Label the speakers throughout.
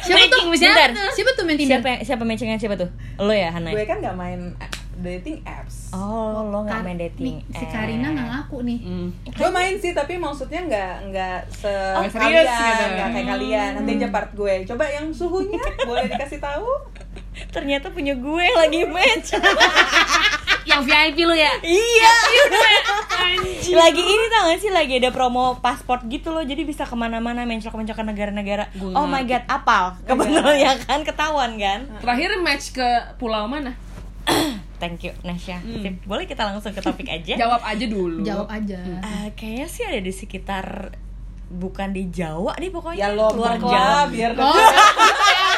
Speaker 1: Siapa tuh?
Speaker 2: Matching, bentar.
Speaker 1: Siapa tuh? Siapa tuh main Tinder?
Speaker 2: Siapa yang- siapa matchingan siapa tuh? Lo ya, Hana?
Speaker 3: Gue kan nggak main a- dating apps.
Speaker 2: Oh, lo nggak
Speaker 1: Kar-
Speaker 2: main dating. Mm.
Speaker 1: nih, Si
Speaker 2: apps.
Speaker 1: Karina nggak ngaku nih.
Speaker 4: Hmm.
Speaker 3: Gue main sih tapi maksudnya nggak nggak se
Speaker 2: Oh,
Speaker 4: Nggak serius
Speaker 3: kalian,
Speaker 4: gitu.
Speaker 3: nggak
Speaker 2: Hmm.
Speaker 3: kayak kalian. Nanti aja part gue. Coba yang suhunya boleh dikasih tahu?
Speaker 2: Ternyata punya gue yang lagi match. Oh,
Speaker 1: Yang VIP lu ya?
Speaker 2: iya. lagi ini tau gak sih lagi ada promo paspor gitu loh jadi bisa kemana-mana mencok-mencokan negara-negara
Speaker 4: Gua
Speaker 2: oh my god apal kebetulan ya kan ketahuan kan
Speaker 4: Terakhir match ke pulau mana?
Speaker 2: thank you Nasya Sip, boleh kita langsung ke topik aja
Speaker 4: Jawab aja dulu.
Speaker 1: Jawab aja.
Speaker 2: Ah, kayaknya sih ada di sekitar bukan di Jawa deh pokoknya
Speaker 3: Ya lo
Speaker 2: luar
Speaker 3: berdua
Speaker 2: Jawa
Speaker 3: biar
Speaker 1: Oh,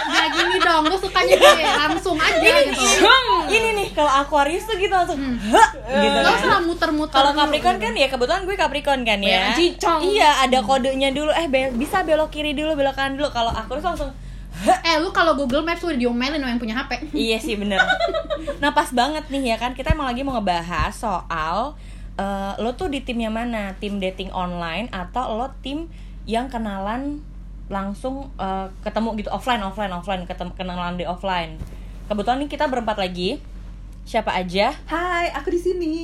Speaker 1: ya gini dong, lu sukanya gue langsung aja gitu.
Speaker 2: Iya, ini nih kalau Aquarius tuh gitu langsung "Hah," gitu
Speaker 1: Gak
Speaker 2: kan
Speaker 1: usah muter-muter.
Speaker 2: kalau
Speaker 1: dulu.
Speaker 2: Capricorn kan ya kebetulan gue Capricorn kan ya.
Speaker 4: Banyak cicong.
Speaker 2: Iya, ada kodenya dulu. Eh be- bisa belok kiri dulu, belok kanan dulu. Kalau Aquarius langsung
Speaker 1: Eh, lu kalau Google Maps udah diomelin sama yang punya HP.
Speaker 2: Iya sih bener Nah pas banget nih ya kan Kita emang lagi mau ngebahas soal eh, Lo tuh di timnya mana? Tim dating online atau lo tim yang kenalan langsung eh, ketemu gitu Offline, offline, offline ketemu, Kenalan di offline Kebetulan nih kita berempat lagi Siapa aja?
Speaker 3: Hai, aku di sini.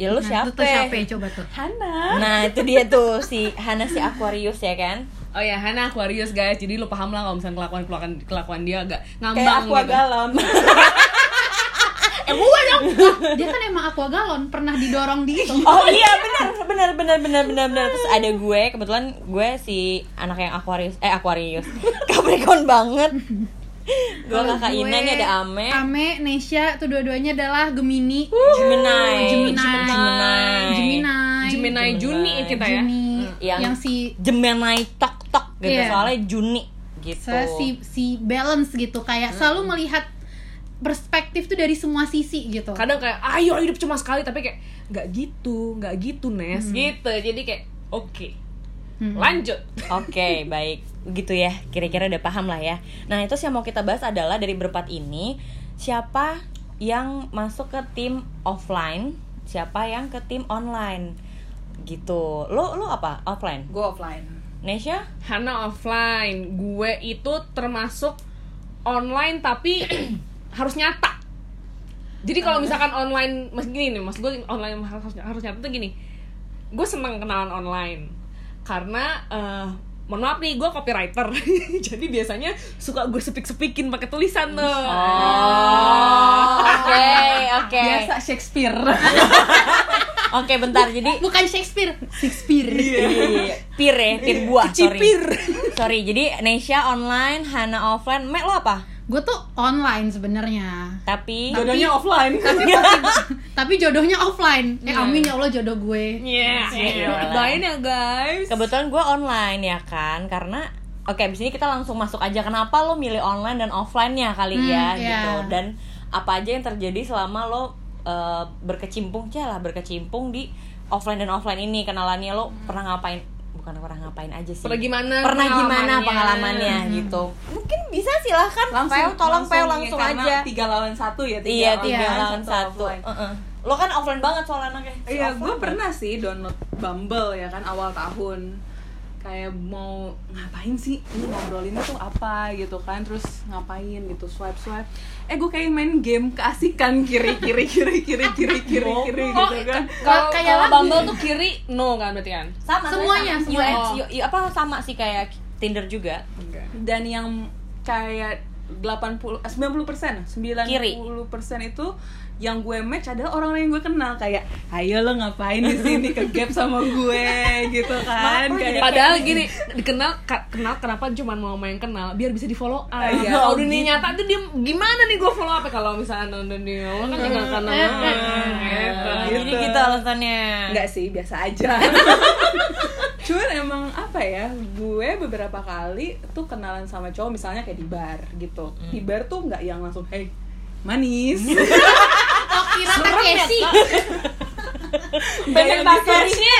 Speaker 2: Ya
Speaker 1: Nah,
Speaker 2: lo
Speaker 1: Lu
Speaker 2: siapa?
Speaker 1: tuh siapa coba tuh?
Speaker 3: Hana.
Speaker 2: Nah itu dia tuh si Hana si Aquarius ya kan
Speaker 4: Oh ya, Hana Aquarius guys. Jadi lu paham lah kalau misalnya kelakuan kelakuan kelakuan dia agak ngambang
Speaker 3: Kayak aku
Speaker 4: gitu.
Speaker 3: galam.
Speaker 1: Eh, gue dong. Dia kan emang aqua galon, pernah didorong di itu.
Speaker 2: Oh iya benar benar benar benar benar benar terus ada gue kebetulan gue si anak yang Aquarius eh Aquarius Capricorn banget gue
Speaker 1: Kalau
Speaker 2: kakak Ina ini ada Ame
Speaker 1: Ame, Nesya, tuh dua-duanya adalah Gemini.
Speaker 2: Gemini
Speaker 1: Gemini.
Speaker 2: Gemini
Speaker 1: Gemini.
Speaker 4: Gemini Juni
Speaker 2: Gemini.
Speaker 4: kita ya.
Speaker 1: Juni.
Speaker 2: Yang-
Speaker 1: Yang, si
Speaker 2: Gemini tok tok gitu
Speaker 1: Iya.
Speaker 2: soalnya Juni gitu
Speaker 1: se- si si balance gitu
Speaker 2: Hmm.
Speaker 1: kayak selalu melihat perspektif tuh dari semua sisi gitu.
Speaker 4: Kadang kayak ayo hidup cuma sekali tapi kayak nggak gitu, nggak gitu Nes gitu. Jadi kayak oke.
Speaker 1: Hmm.
Speaker 4: Lanjut.
Speaker 2: Oke, baik. Gitu ya. Kira-kira udah paham lah ya. Nah, itu yang mau kita bahas adalah dari berempat ini siapa yang masuk ke tim offline, siapa yang ke tim online. Gitu. Lo lo apa? Offline.
Speaker 3: Gue offline.
Speaker 2: Nesha?
Speaker 4: Hana offline, gue itu termasuk online tapi harus nyata. Jadi kalau misalkan online, mas gini nih, mas gue online harus, harus nyata tuh gini. Gue seneng kenalan online karena eh mohon maaf nih, gue copywriter, jadi biasanya suka gue sepik-sepikin pakai tulisan tuh.
Speaker 1: Oh.
Speaker 2: Oke, oke.
Speaker 4: Oh. Biasa Shakespeare.
Speaker 2: Oke, bentar. Jadi
Speaker 1: Bukan Shakespeare, Shakespeare.
Speaker 4: Iya,
Speaker 2: pir ya, pir buah, sorry.
Speaker 4: Cipir.
Speaker 2: Sorry. Jadi Nesha online, Hana offline. Mek lo apa?
Speaker 1: Gue tuh online sebenarnya.
Speaker 2: Tapi
Speaker 3: Jodohnya offline.
Speaker 1: Tapi jodohnya offline. Eh
Speaker 4: Hmm.
Speaker 1: amin ya Allah jodoh gue.
Speaker 4: Yeah.
Speaker 2: Gila.
Speaker 4: Doain ya guys.
Speaker 2: Kebetulan gue online ya kan, karena oke abis ini kita langsung masuk aja kenapa lo milih online dan offline-nya kali
Speaker 1: Hmm,
Speaker 2: ya
Speaker 1: iya.
Speaker 2: gitu dan apa aja yang terjadi selama lo eh, berkecimpung cah lah berkecimpung di offline dan offline ini kenalannya lo pernah ngapain bukan pernah ngapain aja sih
Speaker 4: Pernah gimana
Speaker 2: pernah gimana
Speaker 4: pengalamannya?
Speaker 2: pengalamannya gitu mungkin bisa silahkan Peo tolong Peo langsung
Speaker 3: ya, karena
Speaker 2: aja
Speaker 3: tiga lawan satu ya tiga
Speaker 2: iya
Speaker 3: online,
Speaker 2: tiga lawan satu
Speaker 3: offline.
Speaker 2: Heeh. lo kan offline banget soal anaknya Si
Speaker 3: Iya,
Speaker 2: offline
Speaker 3: gue
Speaker 2: banget.
Speaker 3: pernah sih download Bumble ya kan awal tahun kayak mau ngapain sih ini ngobrolinnya tuh apa gitu kan terus ngapain gitu swipe swipe eh gue kayak main game keasikan kiri kiri kiri kiri kiri kiri kiri
Speaker 4: Oh,
Speaker 3: gitu kan
Speaker 1: Kayak
Speaker 4: kalau kayak
Speaker 1: lagu. ya?
Speaker 4: Bumble tuh kiri no kan berarti kan?
Speaker 2: sama
Speaker 1: Semuanya,
Speaker 2: sama.
Speaker 1: semuanya.
Speaker 2: UX, U- apa sama sih kayak Tinder juga
Speaker 3: dan yang kayak 80 eh, 90 persen 90
Speaker 2: Kiri.
Speaker 3: persen itu yang gue match adalah orang-orang yang gue kenal kayak ayo lo ngapain di sini ke gap sama gue gitu
Speaker 2: Maaf,
Speaker 3: kan
Speaker 2: lo jadi
Speaker 1: Iya.
Speaker 3: kayak
Speaker 4: Padahal gini, dikenal ka- kenal kenapa cuma mau main kenal biar bisa di follow up.
Speaker 3: Iya.
Speaker 4: Kalau dunia nyata tuh dia gimana nih gue follow up ya kalau misalnya nonton di lo kan tinggal kenal.
Speaker 1: Eh, eh.
Speaker 2: Nah,
Speaker 3: gitu.
Speaker 2: jadi gitu alasannya
Speaker 3: Enggak sih, biasa aja. Cuman emang apa ya, gue beberapa kali tuh kenalan sama cowok misalnya kayak di bar gitu. Di bar tuh nggak yang langsung, hey manis.
Speaker 1: Oh kira Takeshi.
Speaker 3: Banyak
Speaker 2: pacarnya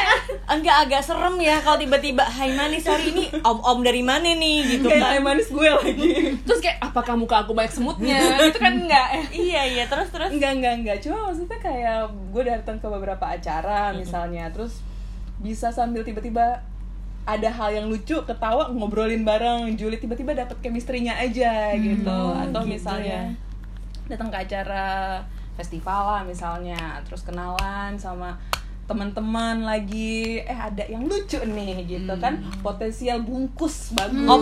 Speaker 2: enggak agak serem ya kalau tiba-tiba Hai manis sorry ini om-om dari mana nih gitu
Speaker 3: kayak
Speaker 2: kan
Speaker 3: "Hey, manis gue lagi.
Speaker 4: Terus kayak apakah muka aku banyak semutnya? Itu kan enggak.
Speaker 2: iya iya terus terus
Speaker 3: Enggak, enggak, enggak. Cuma maksudnya kayak gue datang ke beberapa acara misalnya, terus bisa sambil tiba-tiba ada hal yang lucu ketawa ngobrolin bareng Juli tiba-tiba dapet chemistry-nya aja gitu atau
Speaker 2: Hmm, gitu
Speaker 3: misalnya
Speaker 2: ya.
Speaker 3: datang ke acara festival lah misalnya terus kenalan sama teman-teman lagi eh ada yang lucu nih gitu kan potensial bungkus bagus
Speaker 2: Hmm. Oh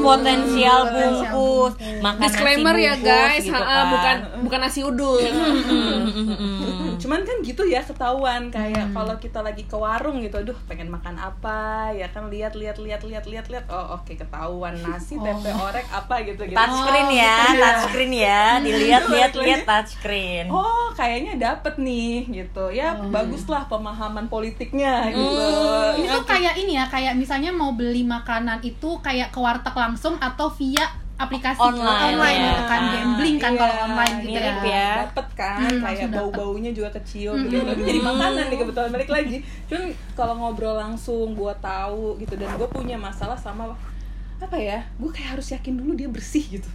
Speaker 1: Hmm,
Speaker 2: potensial
Speaker 1: potensial
Speaker 2: bungkus, makan nasi
Speaker 4: disclaimer ya
Speaker 2: bungkus
Speaker 4: guys
Speaker 2: gitu
Speaker 4: ha,
Speaker 2: kan.
Speaker 4: bukan bukan nasi udul
Speaker 2: Mm-mm.
Speaker 3: cuman kan gitu ya ketahuan kayak kalau kita lagi ke warung gitu aduh pengen makan apa ya kan lihat lihat lihat lihat lihat lihat oh oke ketahuan nasi tempe orek apa gitu gitu
Speaker 2: Touchscreen ya,
Speaker 3: gitu.
Speaker 2: touchscreen ya, dilihat lihat lihat touchscreen.
Speaker 3: oh kayaknya dapet nih gitu ya baguslah pemahaman politiknya gitu
Speaker 1: Itu kayak ini ya, kayak misalnya mau beli makanan itu kayak ke warteg langsung atau via aplikasi
Speaker 2: Online,
Speaker 1: online
Speaker 2: ya.
Speaker 1: gitu kan gambling kan
Speaker 3: Iya,
Speaker 1: kalau online gitu
Speaker 2: mirip
Speaker 1: ya.
Speaker 2: ya.
Speaker 3: dapet kan
Speaker 1: Hmm, langsung
Speaker 3: kayak
Speaker 1: dapet. Hmm,
Speaker 3: bau-baunya juga kecium gitu Tapi jadi makanan nih kebetulan balik lagi cuman kalau ngobrol langsung gue tahu gitu dan gue punya masalah sama apa ya gue kayak harus yakin dulu dia bersih gitu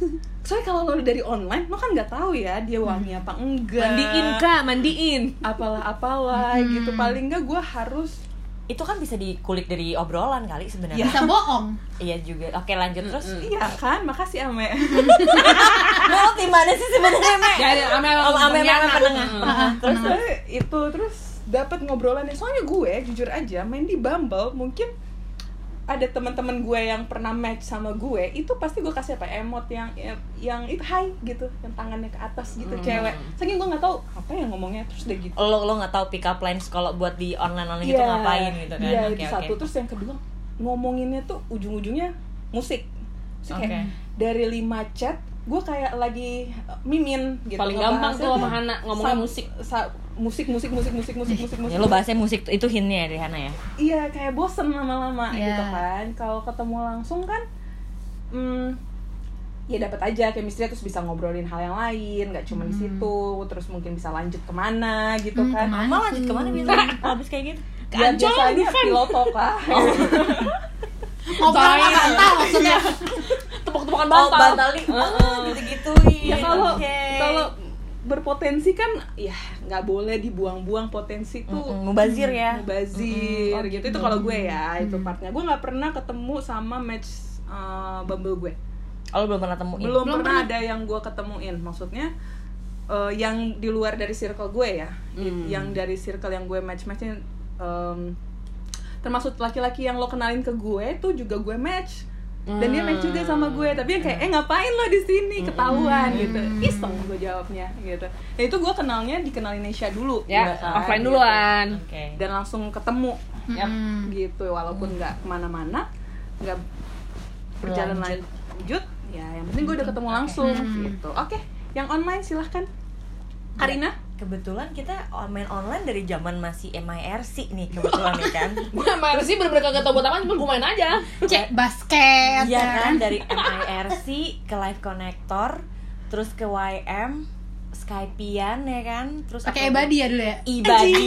Speaker 3: soalnya kalau lo dari online lo kan nggak tahu
Speaker 1: Hmm.
Speaker 3: ya dia wangi apa enggak
Speaker 4: mandiin kak mandiin
Speaker 3: apalah apalah
Speaker 1: Hmm.
Speaker 3: gitu paling nggak gue harus
Speaker 2: Itu kan bisa dikulik dari obrolan kali sebenarnya.
Speaker 1: Bisa bohong.
Speaker 2: Iya juga. Oke lanjut terus.
Speaker 3: iya kan makasih ame
Speaker 2: Lo tim mana sih sebenarnya, Mek?
Speaker 4: Ya, ya, ame- ame-
Speaker 2: Oh, ame- ame- ame
Speaker 4: pengkhianat.
Speaker 2: penengah.
Speaker 4: Mm.
Speaker 2: Penengah. Terus
Speaker 3: terus eh, itu terus dapat ngobrolan ya soalnya gue jujur aja main di Bumble mungkin ada teman-teman gue yang pernah match sama gue itu pasti gue kasih apa ya, emot yang yang itu hai gitu yang tangannya ke atas gitu
Speaker 2: Hmm.
Speaker 3: cewek saking gue nggak tahu apa yang ngomongnya terus udah gitu
Speaker 2: lo lo nggak tahu pick up lines kalau buat di online online gitu
Speaker 3: Iya.
Speaker 2: ngapain gitu kan?
Speaker 3: Iya,
Speaker 2: Oke,
Speaker 3: itu
Speaker 2: oke.
Speaker 3: satu terus yang kedua ngomonginnya tuh ujung-ujungnya musik Musik
Speaker 2: Oke.
Speaker 3: kayak dari lima chat gue kayak lagi uh, mimin gitu
Speaker 4: Paling gampang
Speaker 3: Ngebahasnya
Speaker 4: tuh sama Hana, ngomongin
Speaker 3: sa-
Speaker 4: musik.
Speaker 3: sa- musik musik musik musik musik musik musik
Speaker 2: Ya, lo bahasnya musik itu hintnya dari Hana ya.
Speaker 3: iya kayak bosen lama-lama
Speaker 1: Iya.
Speaker 3: gitu kan kalau ketemu langsung kan hmm, ya dapat aja chemistry terus bisa ngobrolin hal yang lain nggak cuma di situ terus mungkin bisa lanjut kemana gitu
Speaker 1: Hmm,
Speaker 3: kan
Speaker 1: kemana?
Speaker 2: Mau lanjut kemana biasanya? Habis kayak gitu.
Speaker 3: Ya, biasanya pilotok lah
Speaker 1: Ngobrol
Speaker 2: gitu.
Speaker 1: apa bantal maksudnya?
Speaker 2: Iya.
Speaker 4: tepuk-tepukan
Speaker 2: Oh,
Speaker 4: bantal
Speaker 2: bantal nih. gitu-gituin.
Speaker 3: ya kalau
Speaker 2: Oke.
Speaker 3: kalau berpotensi kan ya nggak boleh dibuang-buang potensi tuh
Speaker 2: Mm-mm, mubazir ya.
Speaker 3: mubazir
Speaker 2: Mm-mm, oh
Speaker 3: gitu itu kalau gue ya itu partnya gue nggak pernah ketemu sama match eh, bumble gue
Speaker 2: Oh, lo belum pernah temuin.
Speaker 3: belum, pernah, ada yang gue ketemuin maksudnya eh, yang di luar dari circle gue ya
Speaker 2: Mm.
Speaker 4: Hmm.
Speaker 3: yang dari circle yang gue match matchin em, termasuk laki-laki yang lo kenalin ke gue tuh juga gue match dan dia match juga sama gue tapi yang kayak eh ngapain lo di sini ketahuan gitu iseng gue jawabnya gitu nah itu gue kenalnya dikenalin Nesha dulu
Speaker 4: ya
Speaker 3: kan,
Speaker 4: offline
Speaker 3: gitu.
Speaker 4: duluan
Speaker 2: Oke.
Speaker 3: dan langsung ketemu
Speaker 1: Hmm,
Speaker 4: Yap.
Speaker 1: Mm-mm.
Speaker 3: gitu walaupun nggak kemana-mana nggak berjalan
Speaker 2: Berlanjut.
Speaker 3: lanjut ya yang penting gue udah ketemu langsung
Speaker 1: Hmm.
Speaker 3: gitu oke yang online silahkan
Speaker 2: Ya.
Speaker 3: Karina
Speaker 2: Kebetulan kita main online dari zaman masih MIRC nih kebetulan nih kan.
Speaker 4: gue main sih bener-bener kagak tau buat apa cuma gue main aja
Speaker 1: Cek basket. ya
Speaker 2: Iya kan dari MIRC ke Live Connector, terus ke YM, Skypean ya kan, terus
Speaker 1: Pakai
Speaker 2: apa-
Speaker 1: ebadi ya dulu ya.
Speaker 2: ibadi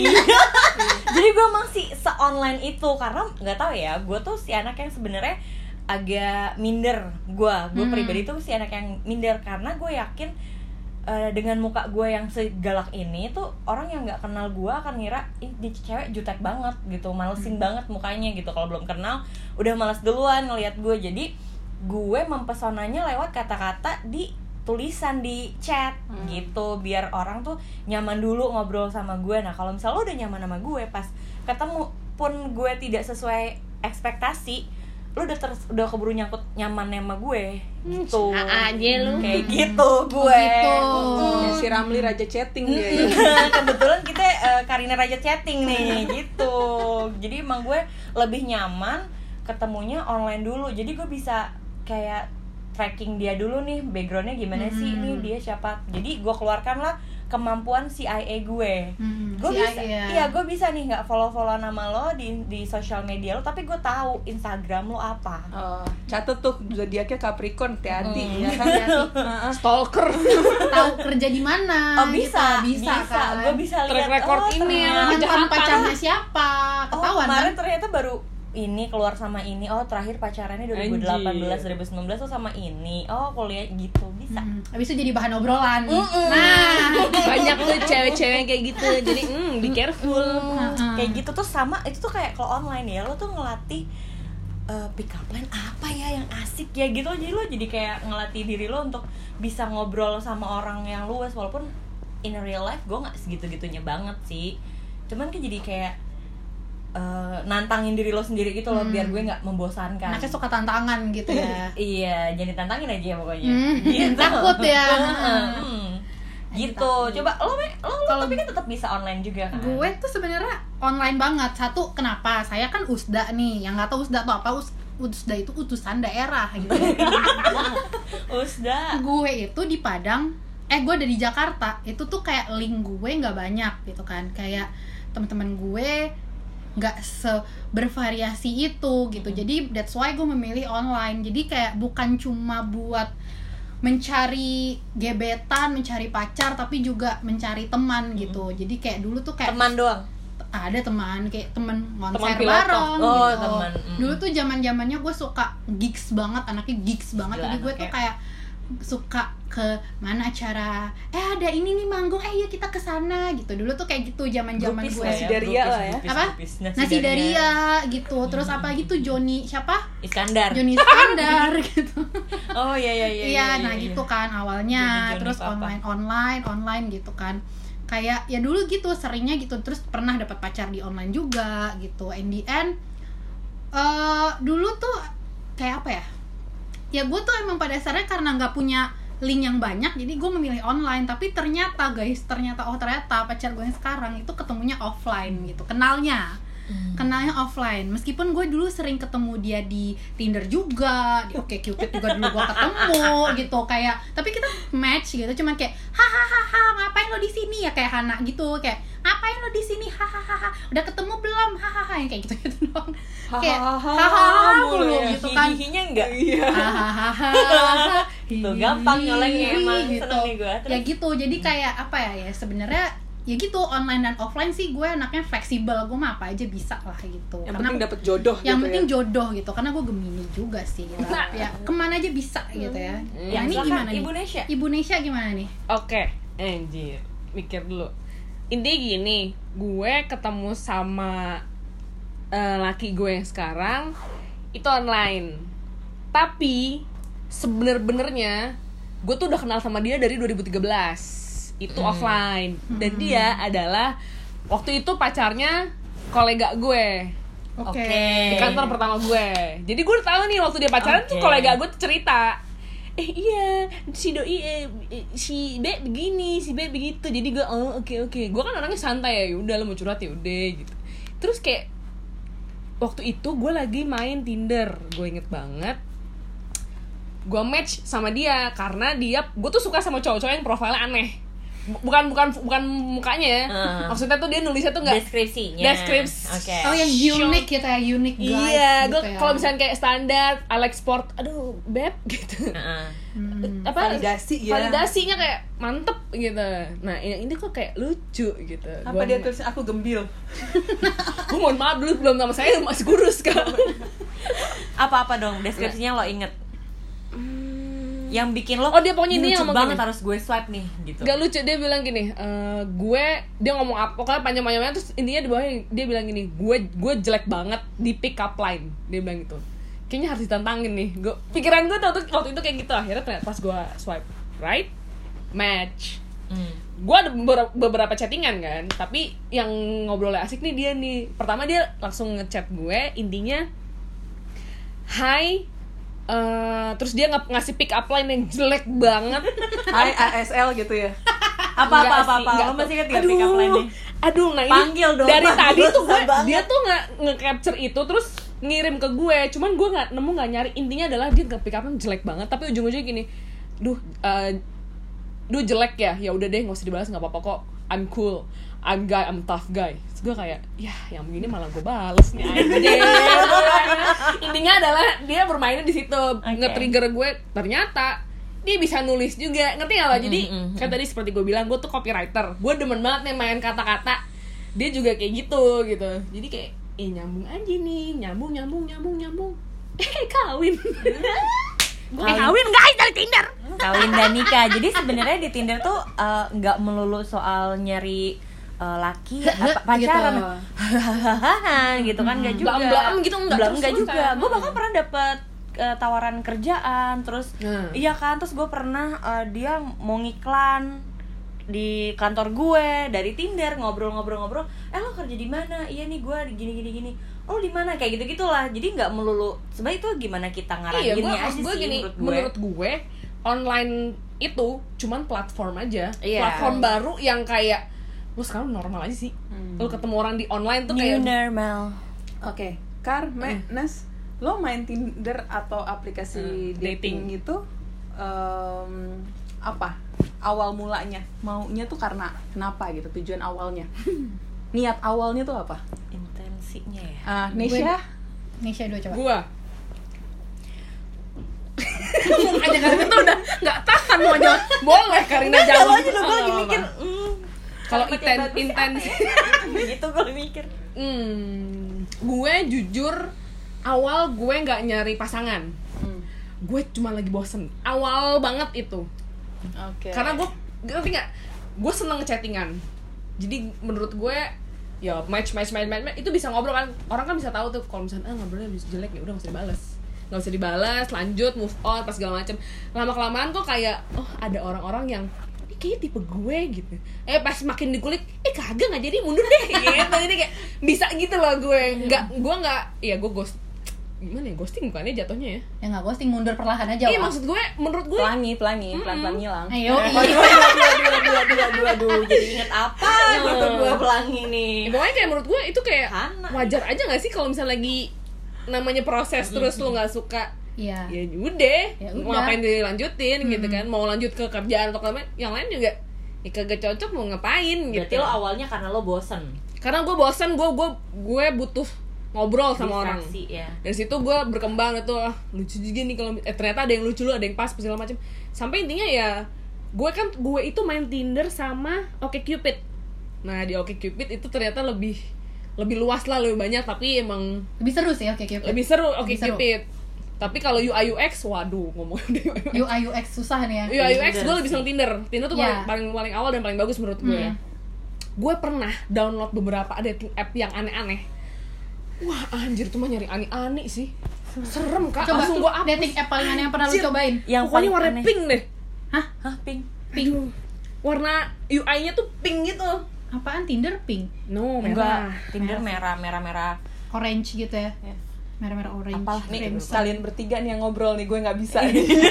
Speaker 2: jadi gue masih se online itu karena nggak tahu ya gue tuh si anak yang sebenarnya agak minder gue gue
Speaker 1: Hmm.
Speaker 2: pribadi tuh si anak yang minder karena gue yakin eh, dengan muka gue yang segalak ini tuh orang yang nggak kenal gue akan ngira ih di cewek jutek banget gitu malesin banget mukanya gitu kalau belum kenal udah males duluan ngelihat gue jadi gue mempesonanya lewat kata-kata di tulisan di chat
Speaker 4: Hmm.
Speaker 2: gitu biar orang tuh nyaman dulu ngobrol sama gue nah kalau misalnya lo udah nyaman sama gue pas ketemu pun gue tidak sesuai ekspektasi lo udah ter- udah keburu nyangkut nyaman sama gue
Speaker 4: Hmm,
Speaker 2: gitu
Speaker 4: aja lu Oh,
Speaker 2: kayak gitu gue
Speaker 1: gitu.
Speaker 3: Ya, si Ramli raja chatting dia
Speaker 2: Hmm.
Speaker 3: ya.
Speaker 2: kebetulan kita eh, Karina Raja chatting nih gitu jadi emang gue lebih nyaman ketemunya online dulu jadi gue bisa kayak tracking dia dulu nih backgroundnya gimana sih
Speaker 1: Hmm.
Speaker 2: ini dia siapa jadi gue keluarkanlah kemampuan CIA gue
Speaker 1: Hmm,
Speaker 2: gue
Speaker 1: si
Speaker 2: bisa
Speaker 1: Ai ya.
Speaker 2: iya gue bisa nih nggak follow follow nama lo di di sosial media lo tapi gue tahu Instagram lo apa
Speaker 3: Eh, catet tuh zodiaknya Capricorn hati-hati
Speaker 2: Hmm.
Speaker 3: ya kan
Speaker 1: Hati-hati.
Speaker 3: Heeh.
Speaker 4: stalker
Speaker 1: tahu kerja di mana
Speaker 2: oh bisa
Speaker 1: gitu. bisa, kan
Speaker 2: gue bisa
Speaker 4: Track
Speaker 2: lihat
Speaker 4: record
Speaker 2: oh,
Speaker 4: ini ya.
Speaker 2: ternyata-
Speaker 1: mantan
Speaker 4: kejahatan.
Speaker 1: pacarnya siapa ketahuan
Speaker 2: oh,
Speaker 1: kan
Speaker 2: kemarin ternyata baru ini keluar sama ini oh terakhir pacarannya 2018
Speaker 4: Anjir.
Speaker 2: 2019 tuh sama ini oh kuliah gitu bisa
Speaker 1: Hmm, habis itu jadi bahan obrolan
Speaker 2: Mm-mm.
Speaker 1: nah
Speaker 4: banyak tuh cewek-cewek yang kayak gitu jadi mm, be careful
Speaker 1: Mm-mm.
Speaker 2: kayak gitu tuh sama itu tuh kayak kalau online ya lo tuh ngelatih eh, pick up line apa ya yang asik ya gitu jadi lo jadi kayak ngelatih diri lo untuk bisa ngobrol sama orang yang luas walaupun in real life gue nggak segitu gitunya banget sih cuman kan jadi kayak eh, nantangin diri lo sendiri gitu loh
Speaker 1: Hmm.
Speaker 2: biar gue nggak membosankan
Speaker 1: Anaknya suka tantangan gitu ya.
Speaker 2: Iya, jadi tantangin aja pokoknya.
Speaker 1: Hmm, takut ya.
Speaker 2: Hmm. Gitu. Coba lo Me, lo, lo
Speaker 1: Kalau-
Speaker 2: tapi kan tetap bisa online juga kan.
Speaker 1: gue tuh sebenarnya online banget satu kenapa saya kan usda nih yang nggak tahu usda tuh apa us usda itu utusan daerah gitu
Speaker 2: Usda.
Speaker 1: gue itu di Padang eh gue ada di Jakarta itu tuh kayak link gue nggak banyak gitu kan kayak teman-teman gue nggak sebervariasi itu gitu jadi that's why gue memilih online jadi kayak bukan cuma buat mencari gebetan mencari pacar tapi juga mencari teman gitu jadi kayak dulu tuh kayak
Speaker 2: Teman doang.
Speaker 1: ada teman kayak teman konser
Speaker 4: piloto.
Speaker 1: bareng
Speaker 2: Oh,
Speaker 1: gitu.
Speaker 2: teman, mm.
Speaker 1: Dulu tuh zaman zamannya gue suka gigs banget, anaknya gigs banget.
Speaker 2: Gila, ya.
Speaker 1: Jadi gue tuh
Speaker 2: anaknya.
Speaker 1: kayak suka ke mana acara eh ada ini nih manggung eh yuk kita ke sana gitu dulu tuh kayak gitu zaman zaman
Speaker 2: Grupis
Speaker 1: gue
Speaker 2: lah
Speaker 3: Nasi Daria
Speaker 2: grupis,
Speaker 3: lah ya.
Speaker 2: grupis,
Speaker 1: Apa?
Speaker 2: grupis.
Speaker 1: nasi daria gitu terus apa gitu Joni siapa
Speaker 2: Iskandar.
Speaker 1: Joni Standar gitu
Speaker 2: Oh iya iya iya.
Speaker 1: iya nah gitu kan awalnya
Speaker 2: Jadi Johnny
Speaker 1: terus
Speaker 2: Papa.
Speaker 1: online online online gitu kan kayak ya dulu gitu seringnya gitu terus pernah dapat pacar di online juga gitu in the end eh, dulu tuh kayak apa ya ya gue tuh emang pada dasarnya karena nggak punya link yang banyak jadi gue memilih online tapi ternyata guys ternyata oh ternyata pacar gue yang sekarang itu ketemunya offline gitu kenalnya kenalnya offline meskipun gue dulu sering ketemu dia di Tinder juga di OkCupid juga dulu gue ketemu gitu kayak tapi kita match gitu cuman kayak hahaha ngapain lo di sini ya kayak Hana gitu kayak ngapain lo di sini hahaha udah ketemu belum hahaha yang kayak gitu gitu doang kayak hahaha mulu
Speaker 2: ya.
Speaker 1: gitu kan
Speaker 2: Hihinya enggak.
Speaker 3: Iya.
Speaker 1: hahaha
Speaker 2: Tuh, gampang nyolengnya emang.
Speaker 1: Gitu.
Speaker 2: Seneng nih gua. Terus?
Speaker 1: ya gitu jadi kayak apa ya ya sebenarnya ya gitu online dan offline sih gue anaknya fleksibel gue mah apa aja bisa lah gitu
Speaker 3: yang
Speaker 1: Karena-
Speaker 3: penting dapat jodoh
Speaker 1: yang
Speaker 3: gitu
Speaker 1: penting
Speaker 3: ya.
Speaker 1: jodoh gitu karena gue gemini juga sih gitu. ya kemana aja bisa gitu ya
Speaker 2: Ya,
Speaker 1: yang ini
Speaker 2: silakan,
Speaker 1: gimana
Speaker 2: Ibu
Speaker 1: nih
Speaker 2: Nesya.
Speaker 1: ibu Nesya gimana nih
Speaker 4: Oke, anjir. Mikir dulu. Intinya gini, gue ketemu sama eh, laki gue yang sekarang itu online. Tapi sebener-benernya gue tuh udah kenal sama dia dari 2013. Itu offline. Dan dia adalah waktu itu pacarnya kolega gue
Speaker 1: oke
Speaker 4: di kantor pertama gue jadi gue udah tahu nih waktu dia pacaran tuh
Speaker 2: Oke.
Speaker 4: kolega gue tuh cerita eh iya si doi eh, eh, si B begini si B begitu jadi gue oh oke oke gue kan orangnya santai ya yaudah lo mau curhat ya udah gitu terus kayak waktu itu gue lagi main Tinder gue inget banget gue match sama dia karena dia gue tuh suka sama cowok-cowok yang profilnya aneh Bu- bukan bukan bukan mukanya
Speaker 2: Heeh.
Speaker 4: maksudnya tuh dia nulisnya tuh nggak
Speaker 2: Deskripsinya.
Speaker 4: Deskripsi.
Speaker 2: Oke.
Speaker 1: oh yang
Speaker 4: Sure.
Speaker 1: unik gitu ya unik guys
Speaker 4: Iya,
Speaker 1: gitu
Speaker 4: gue
Speaker 1: ya.
Speaker 4: kalau misalnya kayak standar, Alex Sport, aduh, beb gitu.
Speaker 2: Heeh.
Speaker 1: Hmm.
Speaker 4: Apa
Speaker 3: Validasi ya.
Speaker 4: Validasinya kayak mantep gitu. Nah, ini, ini kok kayak lucu gitu.
Speaker 3: Apa dia tulis aku gembil?
Speaker 4: Gue mohon maaf dulu belum sama saya masih kurus kan.
Speaker 2: Apa-apa dong deskripsinya lo inget. Yang bikin lo
Speaker 4: Oh, dia pokoknya
Speaker 2: "Ini
Speaker 4: intinya
Speaker 2: lucu
Speaker 4: ngomong
Speaker 2: banget
Speaker 4: gini."
Speaker 2: harus gue swipe nih gitu.
Speaker 4: Gak lucu dia bilang gini, "Eh, gue dia ngomong apa pokoknya panjang panjangnya terus intinya di bawahnya dia bilang gini, gue gue jelek banget di pick up line dia bilang gitu. Kayaknya harus ditantangin nih. Gue pikiran gue tuh waktu itu kayak gitu akhirnya ternyata pas gue swipe right match
Speaker 2: Hmm.
Speaker 4: gue ada beber- beberapa chattingan kan tapi yang ngobrolnya asik nih dia nih pertama dia langsung ngechat gue intinya hai eh, terus dia nge- ngasih pick up line yang jelek banget
Speaker 3: Hai ASL gitu ya.
Speaker 2: apa apa apa apa lo masih inget gak pick up line-nya?
Speaker 4: aduh nah ini
Speaker 2: Panggil dong,
Speaker 4: dari
Speaker 2: panggil.
Speaker 4: tadi tuh gue
Speaker 2: Susah banget.
Speaker 4: dia tuh nggak nge-capture itu terus ngirim ke gue cuman gue nggak nemu nggak nyari intinya adalah dia nge pick up jelek banget tapi ujung-ujungnya gini duh eh, duh jelek ya ya udah deh nggak usah dibalas nggak apa-apa kok I'm cool I'm guy I'm tough guy terus gue kayak ya yang begini malah gue balas nih anjing." intinya adalah dia bermainnya di situ
Speaker 2: Oke.
Speaker 4: nge-trigger gue ternyata dia bisa nulis juga ngerti nggak lo jadi
Speaker 2: Mm, mm, mm.
Speaker 4: kan tadi seperti gue bilang gue tuh copywriter gue demen banget nih main kata-kata dia juga kayak gitu gitu jadi kayak eh nyambung aja nih nyambung nyambung nyambung nyambung eh kawin gue
Speaker 2: Kawin.
Speaker 4: kawin guys dari tinder
Speaker 2: kawin dan nikah jadi sebenarnya di Tinder tuh eh, nggak melulu soal nyari eh, laki apa, pacaran
Speaker 1: Gitu.
Speaker 2: hahaha gitu kan nggak juga
Speaker 4: Blam-blam gitu enggak,
Speaker 2: Blam
Speaker 4: terus
Speaker 2: nggak
Speaker 4: terus
Speaker 2: juga
Speaker 4: kan.
Speaker 2: gue bahkan pernah dapet eh, tawaran kerjaan terus
Speaker 4: Hmm.
Speaker 2: iya kan terus gue pernah eh, dia mau ngiklan di kantor gue dari Tinder ngobrol-ngobrol-ngobrol eh lo kerja di mana iya nih gue gini gini gini lo di mana kayak gitu gitulah jadi nggak melulu sebenarnya itu gimana kita
Speaker 4: iya
Speaker 2: ngarahinnya
Speaker 4: gue
Speaker 2: aja
Speaker 4: gue
Speaker 2: sih
Speaker 4: gini
Speaker 2: menurut gue
Speaker 4: menurut gue online itu cuman platform aja
Speaker 2: Iya.
Speaker 4: platform baru yang kayak lu sekarang normal aja sih lu ketemu orang di online tuh
Speaker 2: new
Speaker 4: kayak
Speaker 2: normal
Speaker 3: Oke, Carmenes, lo main Tinder atau
Speaker 2: Eh,
Speaker 3: aplikasi
Speaker 4: Hmm, dating.
Speaker 3: dating, gitu em, apa? Awal mulanya, maunya tuh karena kenapa gitu? Tujuan awalnya, niat awalnya tuh apa?
Speaker 2: intensinya ya
Speaker 3: Ah, Nesya,
Speaker 1: Nisha dua coba.
Speaker 4: gue Mukanya Karina tuh udah nggak tahan mau jawab Boleh Karina
Speaker 2: Nggak,
Speaker 4: jawab
Speaker 2: jawab aja dong, gue lagi
Speaker 4: Oh,
Speaker 2: mikir
Speaker 4: apa-apa.
Speaker 2: hmm,
Speaker 4: Kalau
Speaker 2: kalimat yang
Speaker 4: inten
Speaker 2: bagus
Speaker 4: intens
Speaker 2: gitu gue mikir
Speaker 4: Hmm, gue jujur awal gue nggak nyari pasangan.
Speaker 3: Hmm.
Speaker 4: Gue cuma lagi bosen. Awal banget itu.
Speaker 3: oke.
Speaker 4: Karena gue ngerti nggak? Gue seneng chattingan. Jadi menurut gue ya match match match match, match. itu bisa ngobrol kan orang kan bisa tahu tuh kalau misalnya ah, ngobrolnya bisa jelek ya udah nggak usah dibales nggak usah dibales lanjut move on pas segala macem lama kelamaan kok kayak oh ada orang-orang yang ini kayaknya tipe gue gitu eh pas makin dikulik eh kagak nggak jadi mundur deh gitu jadi kayak bisa gitu loh gue nggak gue nggak ya gue ghost gimana ya ghosting bukannya jatuhnya ya
Speaker 1: Ya nggak ghosting mundur perlahan aja.
Speaker 4: iya
Speaker 1: Wak.
Speaker 4: maksud gue menurut gue
Speaker 3: pelangi, pelangi, pelan-pelan ngilang.
Speaker 4: Eh.
Speaker 1: Ayo.
Speaker 2: Aduh, aduh, aduh, aduh, aduh, aduh, aduh, jadi inget apa gitu gue pelangi nih.
Speaker 4: Ya, pokoknya kayak menurut gue itu kayak
Speaker 2: Hana.
Speaker 4: wajar aja gak sih kalau misalnya lagi namanya proses terus
Speaker 2: gitu.
Speaker 4: lu nggak suka
Speaker 1: Iya.
Speaker 4: ya udah
Speaker 1: Ya
Speaker 4: mau
Speaker 1: udah.
Speaker 4: ngapain dilanjutin gitu kan mau lanjut ke kerjaan atau ke apa, yang lain juga ya kagak cocok mau ngapain gitu
Speaker 2: Berarti lo awalnya karena lo bosen
Speaker 4: karena gue bosen gue gue gue butuh ngobrol sama orang
Speaker 2: Distraksi, ya.
Speaker 4: dari situ gue berkembang itu ah, lucu juga nih kalau eh, ternyata ada yang lucu lu ada yang pas segala macam sampai intinya ya gue kan gue itu main Tinder sama OkCupid nah di OkCupid itu ternyata lebih lebih luas lah lebih banyak tapi emang
Speaker 1: Lebih seru sih oke oke.
Speaker 4: lebih seru
Speaker 1: Lebih seru.
Speaker 4: OkCupid tapi kalau UI UX waduh ngomong UI
Speaker 1: UI UX susah nih ya.
Speaker 4: UX gue lebih seneng Tinder Tinder tuh
Speaker 1: Ya.
Speaker 4: paling, paling paling awal dan paling bagus
Speaker 1: Hmm.
Speaker 4: menurut ya. gue gue pernah download beberapa dating app yang aneh-aneh wah anjir tuh mah nyari aneh-aneh sih serem kak
Speaker 1: Coba
Speaker 4: langsung gue apa
Speaker 1: dating app paling aneh yang pernah lu
Speaker 4: Anjir.
Speaker 1: cobain.
Speaker 2: Yang
Speaker 4: pokoknya
Speaker 2: paling
Speaker 4: warna
Speaker 2: aneh.
Speaker 4: pink deh
Speaker 2: Hah, pink?
Speaker 4: pink warna UI-nya tuh pink gitu
Speaker 1: Apaan Tinder pink,
Speaker 4: no
Speaker 2: Enggak,
Speaker 4: merah
Speaker 2: Tinder merah, merah, merah.
Speaker 1: orange gitu ya.
Speaker 3: Iya.
Speaker 1: Merah-merah orange. Ah.
Speaker 2: Apalah, nih,
Speaker 1: Crimson.
Speaker 3: Kalian bertiga nih yang ngobrol nih, gue nggak bisa.
Speaker 4: Iya.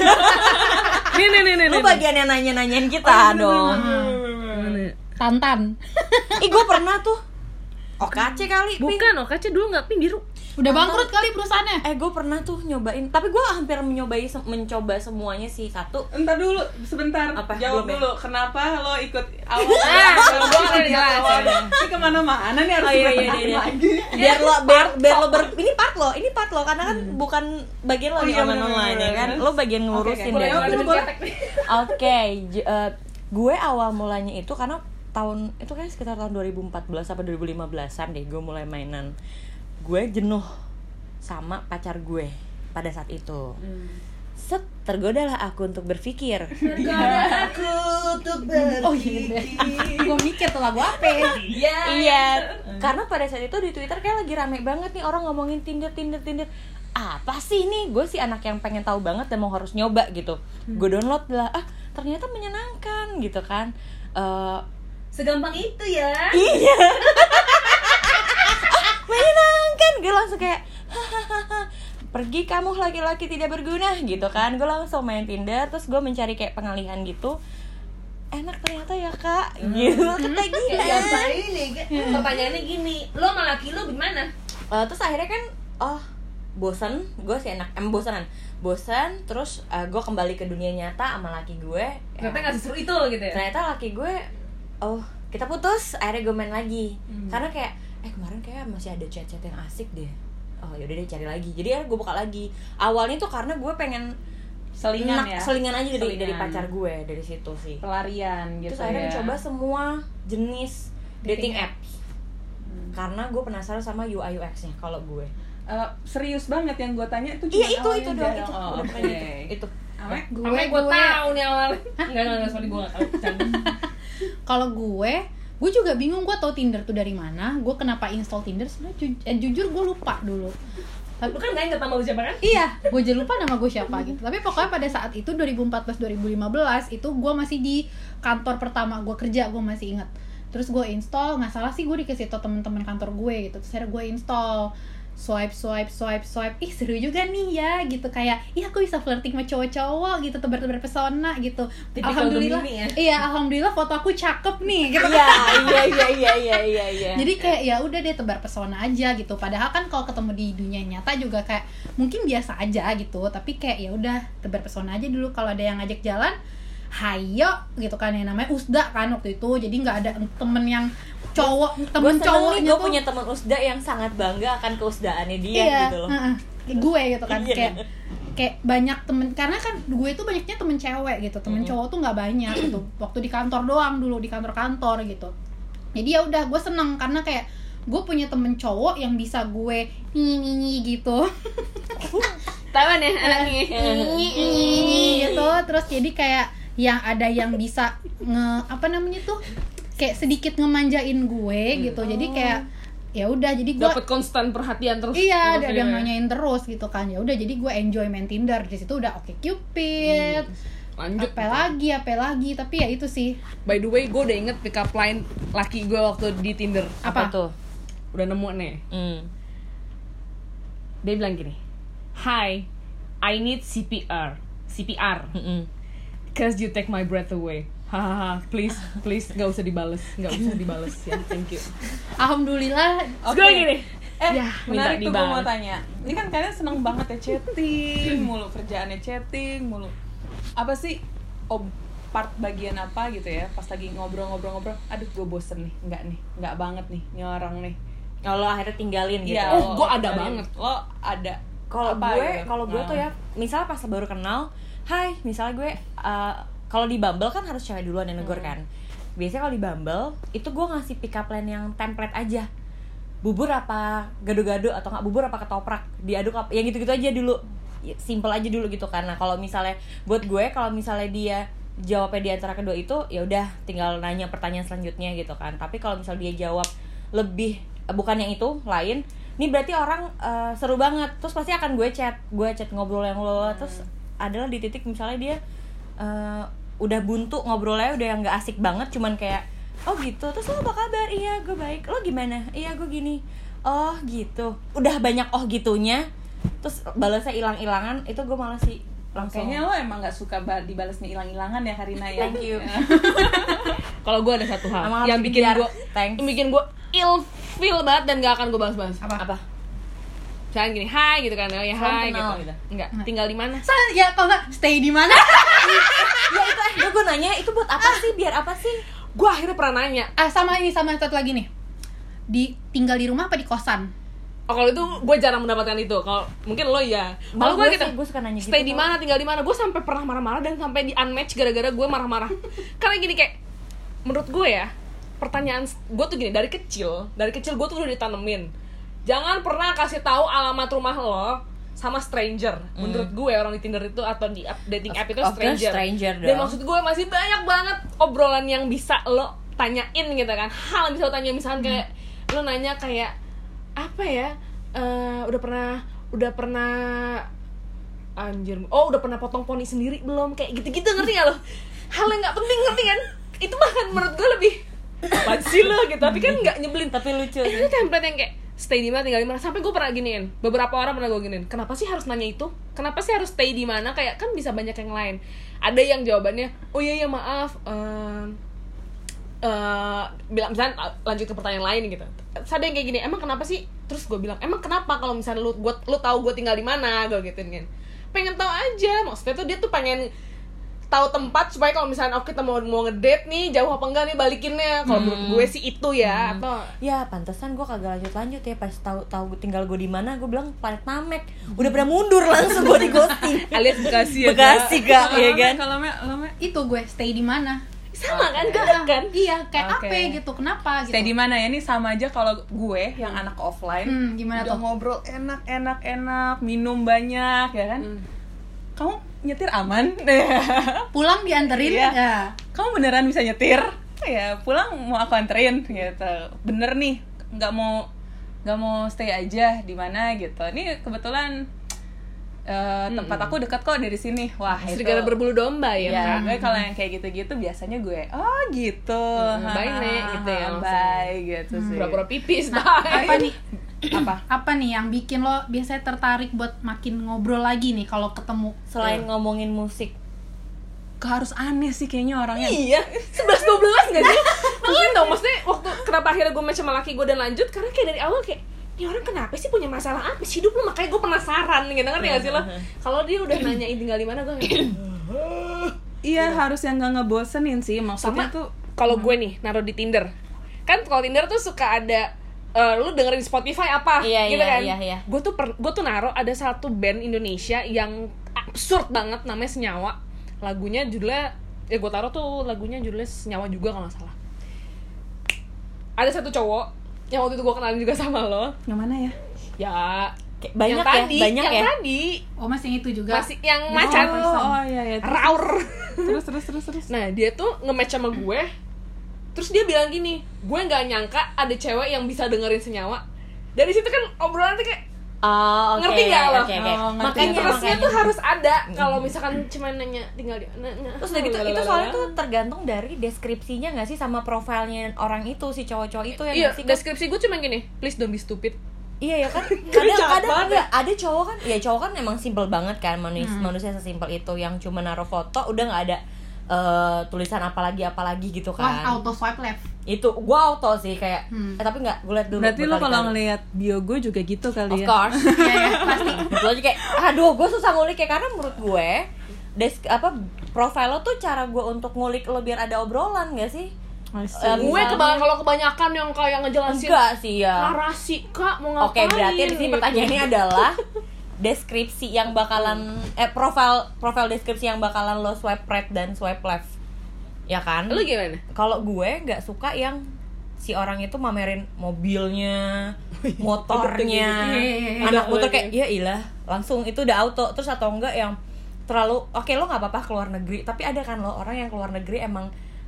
Speaker 4: nih nih nih nih
Speaker 2: Lo
Speaker 4: nih. Oh,
Speaker 2: bagian yang nanya-nanyain kita dong.
Speaker 4: Mana?
Speaker 1: Tantan.
Speaker 2: Ih, gue pernah tuh. Oh, kace kali, pink.
Speaker 4: bukan oh kaca dulu nggak pink biru
Speaker 1: Udah bangkrut kali perusahaannya.
Speaker 2: Eh, gue pernah tuh nyobain. Tapi gue hampir menyobai, se- mencoba semuanya sih. Satu,
Speaker 3: Entar dulu, sebentar.
Speaker 2: Apa?
Speaker 3: Jawab
Speaker 2: Belum ya?
Speaker 3: dulu, kenapa lo ikut awal?
Speaker 4: Ah,
Speaker 3: Kalau gua
Speaker 4: udah
Speaker 3: ikut
Speaker 4: jelas,
Speaker 3: awal.
Speaker 4: ya.
Speaker 3: Ini kemana-mana nih harus
Speaker 2: Oh, iya, iya,
Speaker 3: bertahan
Speaker 2: iya.
Speaker 3: lagi.
Speaker 2: biar lo biar, biar lo ber ini part lo ini part lo karena kan bukan bagian lo
Speaker 3: Hmm. Oh,
Speaker 2: di
Speaker 3: iya,
Speaker 2: online
Speaker 3: bener,
Speaker 2: online ya
Speaker 3: bener,
Speaker 2: kan
Speaker 3: bener.
Speaker 2: lo bagian ngurusin
Speaker 3: Oke,
Speaker 2: deh
Speaker 3: boleh,
Speaker 2: oke
Speaker 3: boleh.
Speaker 2: j- eh, gue awal mulanya itu karena tahun itu kan sekitar tahun 2014 apa 2015an deh gue mulai mainan gue jenuh sama pacar gue pada saat itu
Speaker 3: Hmm.
Speaker 2: set tergodalah aku untuk berpikir
Speaker 3: Iya, aku tuh berpikir
Speaker 1: Gue Oh, iya. mikir tuh lagu apa. ya?
Speaker 2: Iya, karena pada saat itu di Twitter kayak lagi rame banget nih orang ngomongin Tinder, Tinder, Tinder. Apa sih ini? Gue sih anak yang pengen tahu banget dan mau harus nyoba gitu.
Speaker 4: Hmm.
Speaker 2: Gue download lah, ah ternyata menyenangkan gitu kan. Eh,
Speaker 4: segampang itu ya
Speaker 2: iya. Ah, menyenangkan, gue langsung kayak hahaha. Pergi kamu laki-laki tidak berguna gitu kan. Gue langsung main Tinder, terus gue mencari kayak pengalihan gitu. Enak ternyata ya kak,
Speaker 4: Hmm.
Speaker 2: gitu ketagihan.
Speaker 4: ini pertanyaannya gini lo sama laki lo gimana
Speaker 2: Eh, terus akhirnya kan oh bosan gue sih enak em bosanan bosan terus eh, gue kembali ke dunia nyata sama laki gue Ya,
Speaker 4: ternyata nggak seseru itu gitu ya
Speaker 2: ternyata laki gue oh kita putus akhirnya gue main lagi
Speaker 3: Hmm.
Speaker 2: karena kayak eh kemarin kayak masih ada chat-chat yang asik deh oh yaudah deh cari lagi jadi akhirnya gue buka lagi awalnya tuh karena gue pengen
Speaker 3: Selingan
Speaker 2: enak-
Speaker 3: ya.
Speaker 2: selingan aja dari dari
Speaker 3: Selingan.
Speaker 2: pacar gue dari situ sih
Speaker 3: pelarian gitu
Speaker 2: terus akhirnya
Speaker 3: ya.
Speaker 2: mencoba semua jenis dating,
Speaker 1: Dating
Speaker 2: apps karena gue penasaran sama UI UX-nya kalau gue
Speaker 3: Eh, serius banget yang gue tanya itu
Speaker 2: Iya itu itu doang
Speaker 3: doang
Speaker 2: itu
Speaker 3: oh,
Speaker 2: udah
Speaker 3: oke.
Speaker 2: bukan itu itu.
Speaker 3: Ame,
Speaker 1: Gue
Speaker 4: Sampai gue tahu nih awalnya. Enggak, enggak, enggak, sorry gue gak tahu. Bercanda.
Speaker 1: Kalau gue, gue gue juga bingung gue tau Tinder tuh dari mana gue kenapa install Tinder sebenarnya ju- eh, jujur gue lupa dulu
Speaker 5: Lu kan nanya sama lu siapa kan?
Speaker 1: iya gue jadi lupa nama gue siapa gitu tapi pokoknya pada saat itu 2014 2015 itu gue masih di kantor pertama gue kerja gue masih inget terus gue install nggak salah sih gue dikasih tau teman-teman kantor gue gitu terus akhirnya gue install swipe swipe swipe swipe ih seru juga nih ya gitu kayak iya aku bisa flirting sama cowok-cowok gitu tebar-tebar pesona gitu
Speaker 5: Tipikal
Speaker 1: alhamdulillah
Speaker 5: Gemini ya?
Speaker 1: iya alhamdulillah foto aku cakep nih gitu
Speaker 2: Iya, iya, iya, iya, iya, iya, iya.
Speaker 1: jadi kayak ya udah deh tebar pesona aja gitu padahal kan kalau ketemu di dunia nyata juga kayak mungkin biasa aja gitu tapi kayak ya udah tebar pesona aja dulu kalau ada yang ngajak jalan hayo gitu kan yang namanya usda kan waktu itu jadi nggak ada temen yang cowok gitu.
Speaker 2: gue
Speaker 1: temen
Speaker 2: seneng nih
Speaker 1: cowoknya
Speaker 2: gue
Speaker 1: tuh-
Speaker 2: punya teman usda yang sangat bangga akan keusdaannya dia
Speaker 1: iya,
Speaker 2: gitu loh
Speaker 1: heeh. Kayak gue gitu kan
Speaker 2: Iya.
Speaker 1: kayak kayak banyak temen karena kan gue tuh banyaknya temen cewek gitu temen
Speaker 2: Mm-mm.
Speaker 1: cowok tuh nggak banyak gitu waktu di kantor doang dulu di kantor-kantor gitu jadi ya udah gue seneng karena kayak gue punya temen cowok yang bisa gue nyinyi gitu
Speaker 2: kan
Speaker 4: Taiwan ya anaknya.
Speaker 1: gitu terus jadi kayak yang ada yang bisa nge apa namanya tuh kayak sedikit ngemanjain gue gitu
Speaker 2: Oh.
Speaker 1: jadi kayak ya udah jadi gue
Speaker 4: Dapat konstan perhatian terus.
Speaker 1: iya ada
Speaker 4: Terus
Speaker 1: ada yang
Speaker 4: ya.
Speaker 1: nanyain terus gitu kan ya udah jadi gue enjoy main Tinder di situ udah oke Cupid
Speaker 4: Hmm, Lanjut.
Speaker 1: apa lagi apa lagi tapi ya itu sih
Speaker 4: By the way, gue udah inget pick up line laki gue waktu di Tinder.
Speaker 1: apa,
Speaker 2: tuh
Speaker 4: Udah nemu nih.
Speaker 2: hmm.
Speaker 4: Dia bilang gini. Hi, I need CPR. CPR.
Speaker 2: Mm-mm.
Speaker 4: Cause you take my breath away. Hahaha, please, please, gak usah dibales, gak usah dibales ya, thank you.
Speaker 1: alhamdulillah
Speaker 4: Oke gini,
Speaker 3: Eh,
Speaker 1: Ya,
Speaker 3: menarik tuh
Speaker 4: minta
Speaker 3: gue mau
Speaker 4: dibales.
Speaker 3: tanya. Ini kan kalian seneng banget ya chatting, mulu kerjaannya chatting, mulu. Apa sih ob part bagian apa gitu ya? Pas lagi ngobrol-ngobrol-ngobrol, aduh gue bosen nih, enggak nih, enggak banget nih, ini orang nih.
Speaker 2: Oh, lo akhirnya tinggalin gitu
Speaker 3: Iya, lo-
Speaker 4: Oh, gua ada
Speaker 3: kalian-
Speaker 4: banget.
Speaker 3: Lo ada.
Speaker 2: kalau
Speaker 3: apa
Speaker 2: gue
Speaker 3: gitu?
Speaker 2: kalau gue tuh ya misalnya pas baru kenal hai misalnya gue uh, kalau di Bumble kan harus cewek duluan yang
Speaker 3: Hmm.
Speaker 2: negor kan biasanya kalau di Bumble itu gue ngasih pick up line yang template aja bubur apa gado-gado atau nggak bubur apa ketoprak diaduk apa yang gitu-gitu aja dulu Ya, simple aja dulu gitu karena kalau misalnya buat gue kalau misalnya dia jawabnya di antara kedua itu ya udah tinggal nanya pertanyaan selanjutnya gitu kan tapi kalau misalnya dia jawab lebih eh, bukan yang itu lain ini berarti orang eh, seru banget terus pasti akan gue chat gue chat ngobrol yang lo
Speaker 4: Hmm.
Speaker 2: terus adalah di titik misalnya dia eh, udah buntu ngobrolnya udah yang nggak asik banget cuman kayak oh gitu terus lo apa kabar iya gue baik lo gimana iya gue gini oh gitu udah banyak oh gitunya terus balasnya hilang hilangan itu gue malah sih langsung
Speaker 3: Kayaknya lo emang gak suka ba- dibalasnya hilang-hilangan ya Karina ya.
Speaker 2: Thank you.
Speaker 3: Ya.
Speaker 4: kalau gue ada satu hal
Speaker 2: Emang harus
Speaker 4: yang bikin
Speaker 2: dikejar.
Speaker 4: gue,
Speaker 2: Thanks.
Speaker 4: yang bikin gue ill feel banget dan gak akan gue balas-balas.
Speaker 1: apa,
Speaker 2: apa
Speaker 4: Jangan gini, hai gitu kan, ya
Speaker 2: Salam
Speaker 4: hai
Speaker 2: kenal
Speaker 4: gitu.
Speaker 2: gitu.
Speaker 4: Enggak, tinggal di mana?
Speaker 1: Sa- ya kalau nggak stay di mana
Speaker 2: ya itu eh gue nanya itu buat apa sih biar apa sih
Speaker 4: Gue akhirnya pernah nanya.
Speaker 1: ah sama ini sama satu lagi nih di tinggal di rumah apa di kosan
Speaker 4: Oh kalau itu gue jarang mendapatkan itu. Kalau mungkin lo ya. Kalau gue gitu,
Speaker 2: gue suka nanya gitu
Speaker 4: stay
Speaker 2: tuh.
Speaker 4: di mana, tinggal di mana. Gue sampai pernah marah-marah dan sampai di unmatch gara-gara gue marah-marah. Karena gini kayak, menurut gue ya, pertanyaan gue tuh gini dari kecil, dari kecil gue tuh udah ditanemin. Jangan pernah kasih tahu alamat rumah lo sama stranger. Menurut gue orang di Tinder itu atau di app- dating app itu
Speaker 2: Hmm. Of course,
Speaker 4: stranger.
Speaker 2: stranger
Speaker 4: dan
Speaker 2: dong.
Speaker 4: maksud gue masih banyak banget obrolan yang bisa lo tanyain gitu kan. Hal yang bisa lo tanya misalkan kayak lo nanya kayak apa ya? eh, udah pernah udah pernah anjir oh udah pernah potong poni sendiri belum kayak gitu-gitu ngerti gak lo hal yang nggak penting ngerti kan itu bahkan menurut gue lebih apaan sih lo gitu tapi kan nggak nyebelin
Speaker 2: tapi lucu
Speaker 4: Eh, itu template yang kayak stay di mana tinggal di mana sampai gue pernah giniin beberapa orang pernah gue giniin kenapa sih harus nanya itu kenapa sih harus stay di mana kayak kan bisa banyak yang lain ada yang jawabannya oh iya iya maaf em, eh bilang misalnya eh, lanjut ke pertanyaan lain gitu Terus ada yang kayak gini emang kenapa sih terus gue bilang emang kenapa kalau misalnya lu gua, lu tahu gue tinggal di mana gue gituin kan pengen tahu aja maksudnya tuh dia tuh pengen tahu tempat supaya kalau misalnya oke kita mau mau ngedate nih jauh apa enggak nih balikinnya kalau menurut gue sih itu ya atau
Speaker 2: ya pantesan gue kagak lanjut lanjut ya pas tahu tahu tinggal gue di mana gue bilang planet namek udah pada mundur langsung gue di ghosting
Speaker 4: alias Bekasi ya
Speaker 2: bekasi kak
Speaker 3: Kalau
Speaker 2: ya
Speaker 3: lo,
Speaker 2: kan
Speaker 3: Kalau lo, lo, lo-
Speaker 1: itu gue stay di mana
Speaker 4: sama kan
Speaker 1: Iya,
Speaker 4: gak kan
Speaker 1: iya kayak
Speaker 3: Oke.
Speaker 1: apa gitu kenapa gitu
Speaker 3: Stay di mana ya? Ini sama aja kalau gue yang anak offline.
Speaker 1: Hmm, gimana
Speaker 3: udah
Speaker 1: tuh?
Speaker 3: ngobrol enak enak enak, minum banyak ya kan?
Speaker 4: Hmm.
Speaker 3: Kamu nyetir aman?
Speaker 1: pulang dianterin
Speaker 3: Iya.
Speaker 1: ya
Speaker 3: Kamu beneran bisa nyetir? ya pulang mau aku anterin gitu bener nih nggak mau nggak mau stay aja di mana gitu ini kebetulan eh,
Speaker 4: Hmm,
Speaker 3: tempat aku dekat kok dari sini wah itu
Speaker 4: serigala berbulu domba ya,
Speaker 3: ya,
Speaker 4: Kak?
Speaker 3: gue kalau yang kayak gitu-gitu biasanya gue oh gitu
Speaker 4: Hmm, bye, Nek, gitu ya, Hmm. langsung.
Speaker 3: bye gitu sih
Speaker 4: pura-pura pipis
Speaker 1: Nah, apa
Speaker 4: iya.
Speaker 1: nih
Speaker 3: apa
Speaker 1: apa nih yang bikin lo biasanya tertarik buat makin ngobrol lagi nih kalau ketemu
Speaker 2: Selain ngomongin musik.
Speaker 3: Kok harus aneh sih kayaknya orangnya
Speaker 2: Iya.
Speaker 4: sebelas dua belas nggak sih pengen dong maksudnya waktu kenapa akhirnya gue match sama laki gue dan lanjut karena kayak dari awal kayak ini orang kenapa sih punya masalah apa sih hidup lu makanya gue penasaran gitu ngerti gak sih lo kalau dia udah nanyain tinggal di mana gue
Speaker 3: iya harus yang nggak ngebosenin sih maksudnya
Speaker 4: sama
Speaker 3: tuh
Speaker 4: tuh
Speaker 2: Hmm.
Speaker 4: kalau gue nih naruh di Tinder kan kalau Tinder tuh suka ada eh, lu dengerin Spotify apa
Speaker 2: Iya,
Speaker 4: gitu
Speaker 2: iya,
Speaker 4: kan
Speaker 2: iya, iya.
Speaker 4: gue tuh per- gue tuh naruh ada satu band Indonesia yang absurd banget namanya Senyawa lagunya judulnya ya gue taruh tuh lagunya judulnya Senyawa juga kalau nggak salah ada satu cowok yang waktu itu gue kenalin juga sama lo
Speaker 3: yang mana ya
Speaker 4: ya
Speaker 2: Kayak Banyak
Speaker 4: yang
Speaker 2: ya,
Speaker 4: tadi
Speaker 2: banyak
Speaker 4: yang
Speaker 2: ya.
Speaker 4: tadi
Speaker 1: oh mas yang itu juga
Speaker 4: masih yang macan
Speaker 3: oh, oh iya iya
Speaker 4: raur
Speaker 3: terus terus terus terus
Speaker 4: Nah dia tuh nge-match sama gue Terus dia bilang gini Gue nggak nyangka ada cewek yang bisa dengerin senyawa Dari situ kan obrolan tuh kayak
Speaker 2: Oh, oke.
Speaker 4: Ngerti nggak lo?
Speaker 2: Oke, oke.
Speaker 3: Oh, ngerti.
Speaker 2: Makanya
Speaker 4: Interestnya
Speaker 2: makanya.
Speaker 4: tuh harus ada Kalau misalkan cuma nanya tinggal dia nah, nah,
Speaker 2: Terus udah gitu itu soalnya tuh tergantung dari deskripsinya nggak sih sama profilnya orang itu si cowok-cowok itu yang
Speaker 4: Iya,
Speaker 2: ngasih kan?
Speaker 4: deskripsi gue cuma gini Please don't be stupid
Speaker 2: Iya ya kan kadang kadang
Speaker 1: ya.
Speaker 2: nggak, ada cowok kan ya cowok kan emang simple banget kan manusia
Speaker 1: Hmm.
Speaker 2: manusia sesimpel itu yang cuma naruh foto udah nggak ada eh, tulisan apalagi apalagi gitu
Speaker 1: wah
Speaker 2: kan
Speaker 1: auto swipe left
Speaker 2: itu gua auto sih kayak
Speaker 1: Hmm.
Speaker 2: eh, tapi nggak gue liat dulu
Speaker 3: berarti lo kalau
Speaker 2: berkali-kali.
Speaker 3: ngelihat bio gue juga gitu
Speaker 2: of
Speaker 3: kali ya
Speaker 2: course
Speaker 1: ya, ya, pasti
Speaker 2: gue aja kayak aduh gue susah ngulik ya karena menurut gue des apa profil lo tuh cara gue untuk ngulik lo biar ada obrolan gak sih
Speaker 3: I see.
Speaker 2: Eh,
Speaker 4: Gue kebanyakan kalau kebanyakan yang kayak ngejelasin
Speaker 2: enggak sih ya
Speaker 4: Narasi kak mau
Speaker 2: oke
Speaker 4: ngapain
Speaker 2: berarti di sini
Speaker 4: gitu.
Speaker 2: pertanyaannya adalah deskripsi yang bakalan eh profil profil deskripsi yang bakalan lo swipe right dan swipe left ya kan
Speaker 4: Lu gimana?
Speaker 2: kalau gue nggak suka yang si orang itu mamerin mobilnya, motornya, anak motor kayak ya ilah, langsung itu udah auto terus atau enggak yang terlalu oke lo nggak apa-apa keluar negeri tapi ada kan lo orang yang keluar negeri emang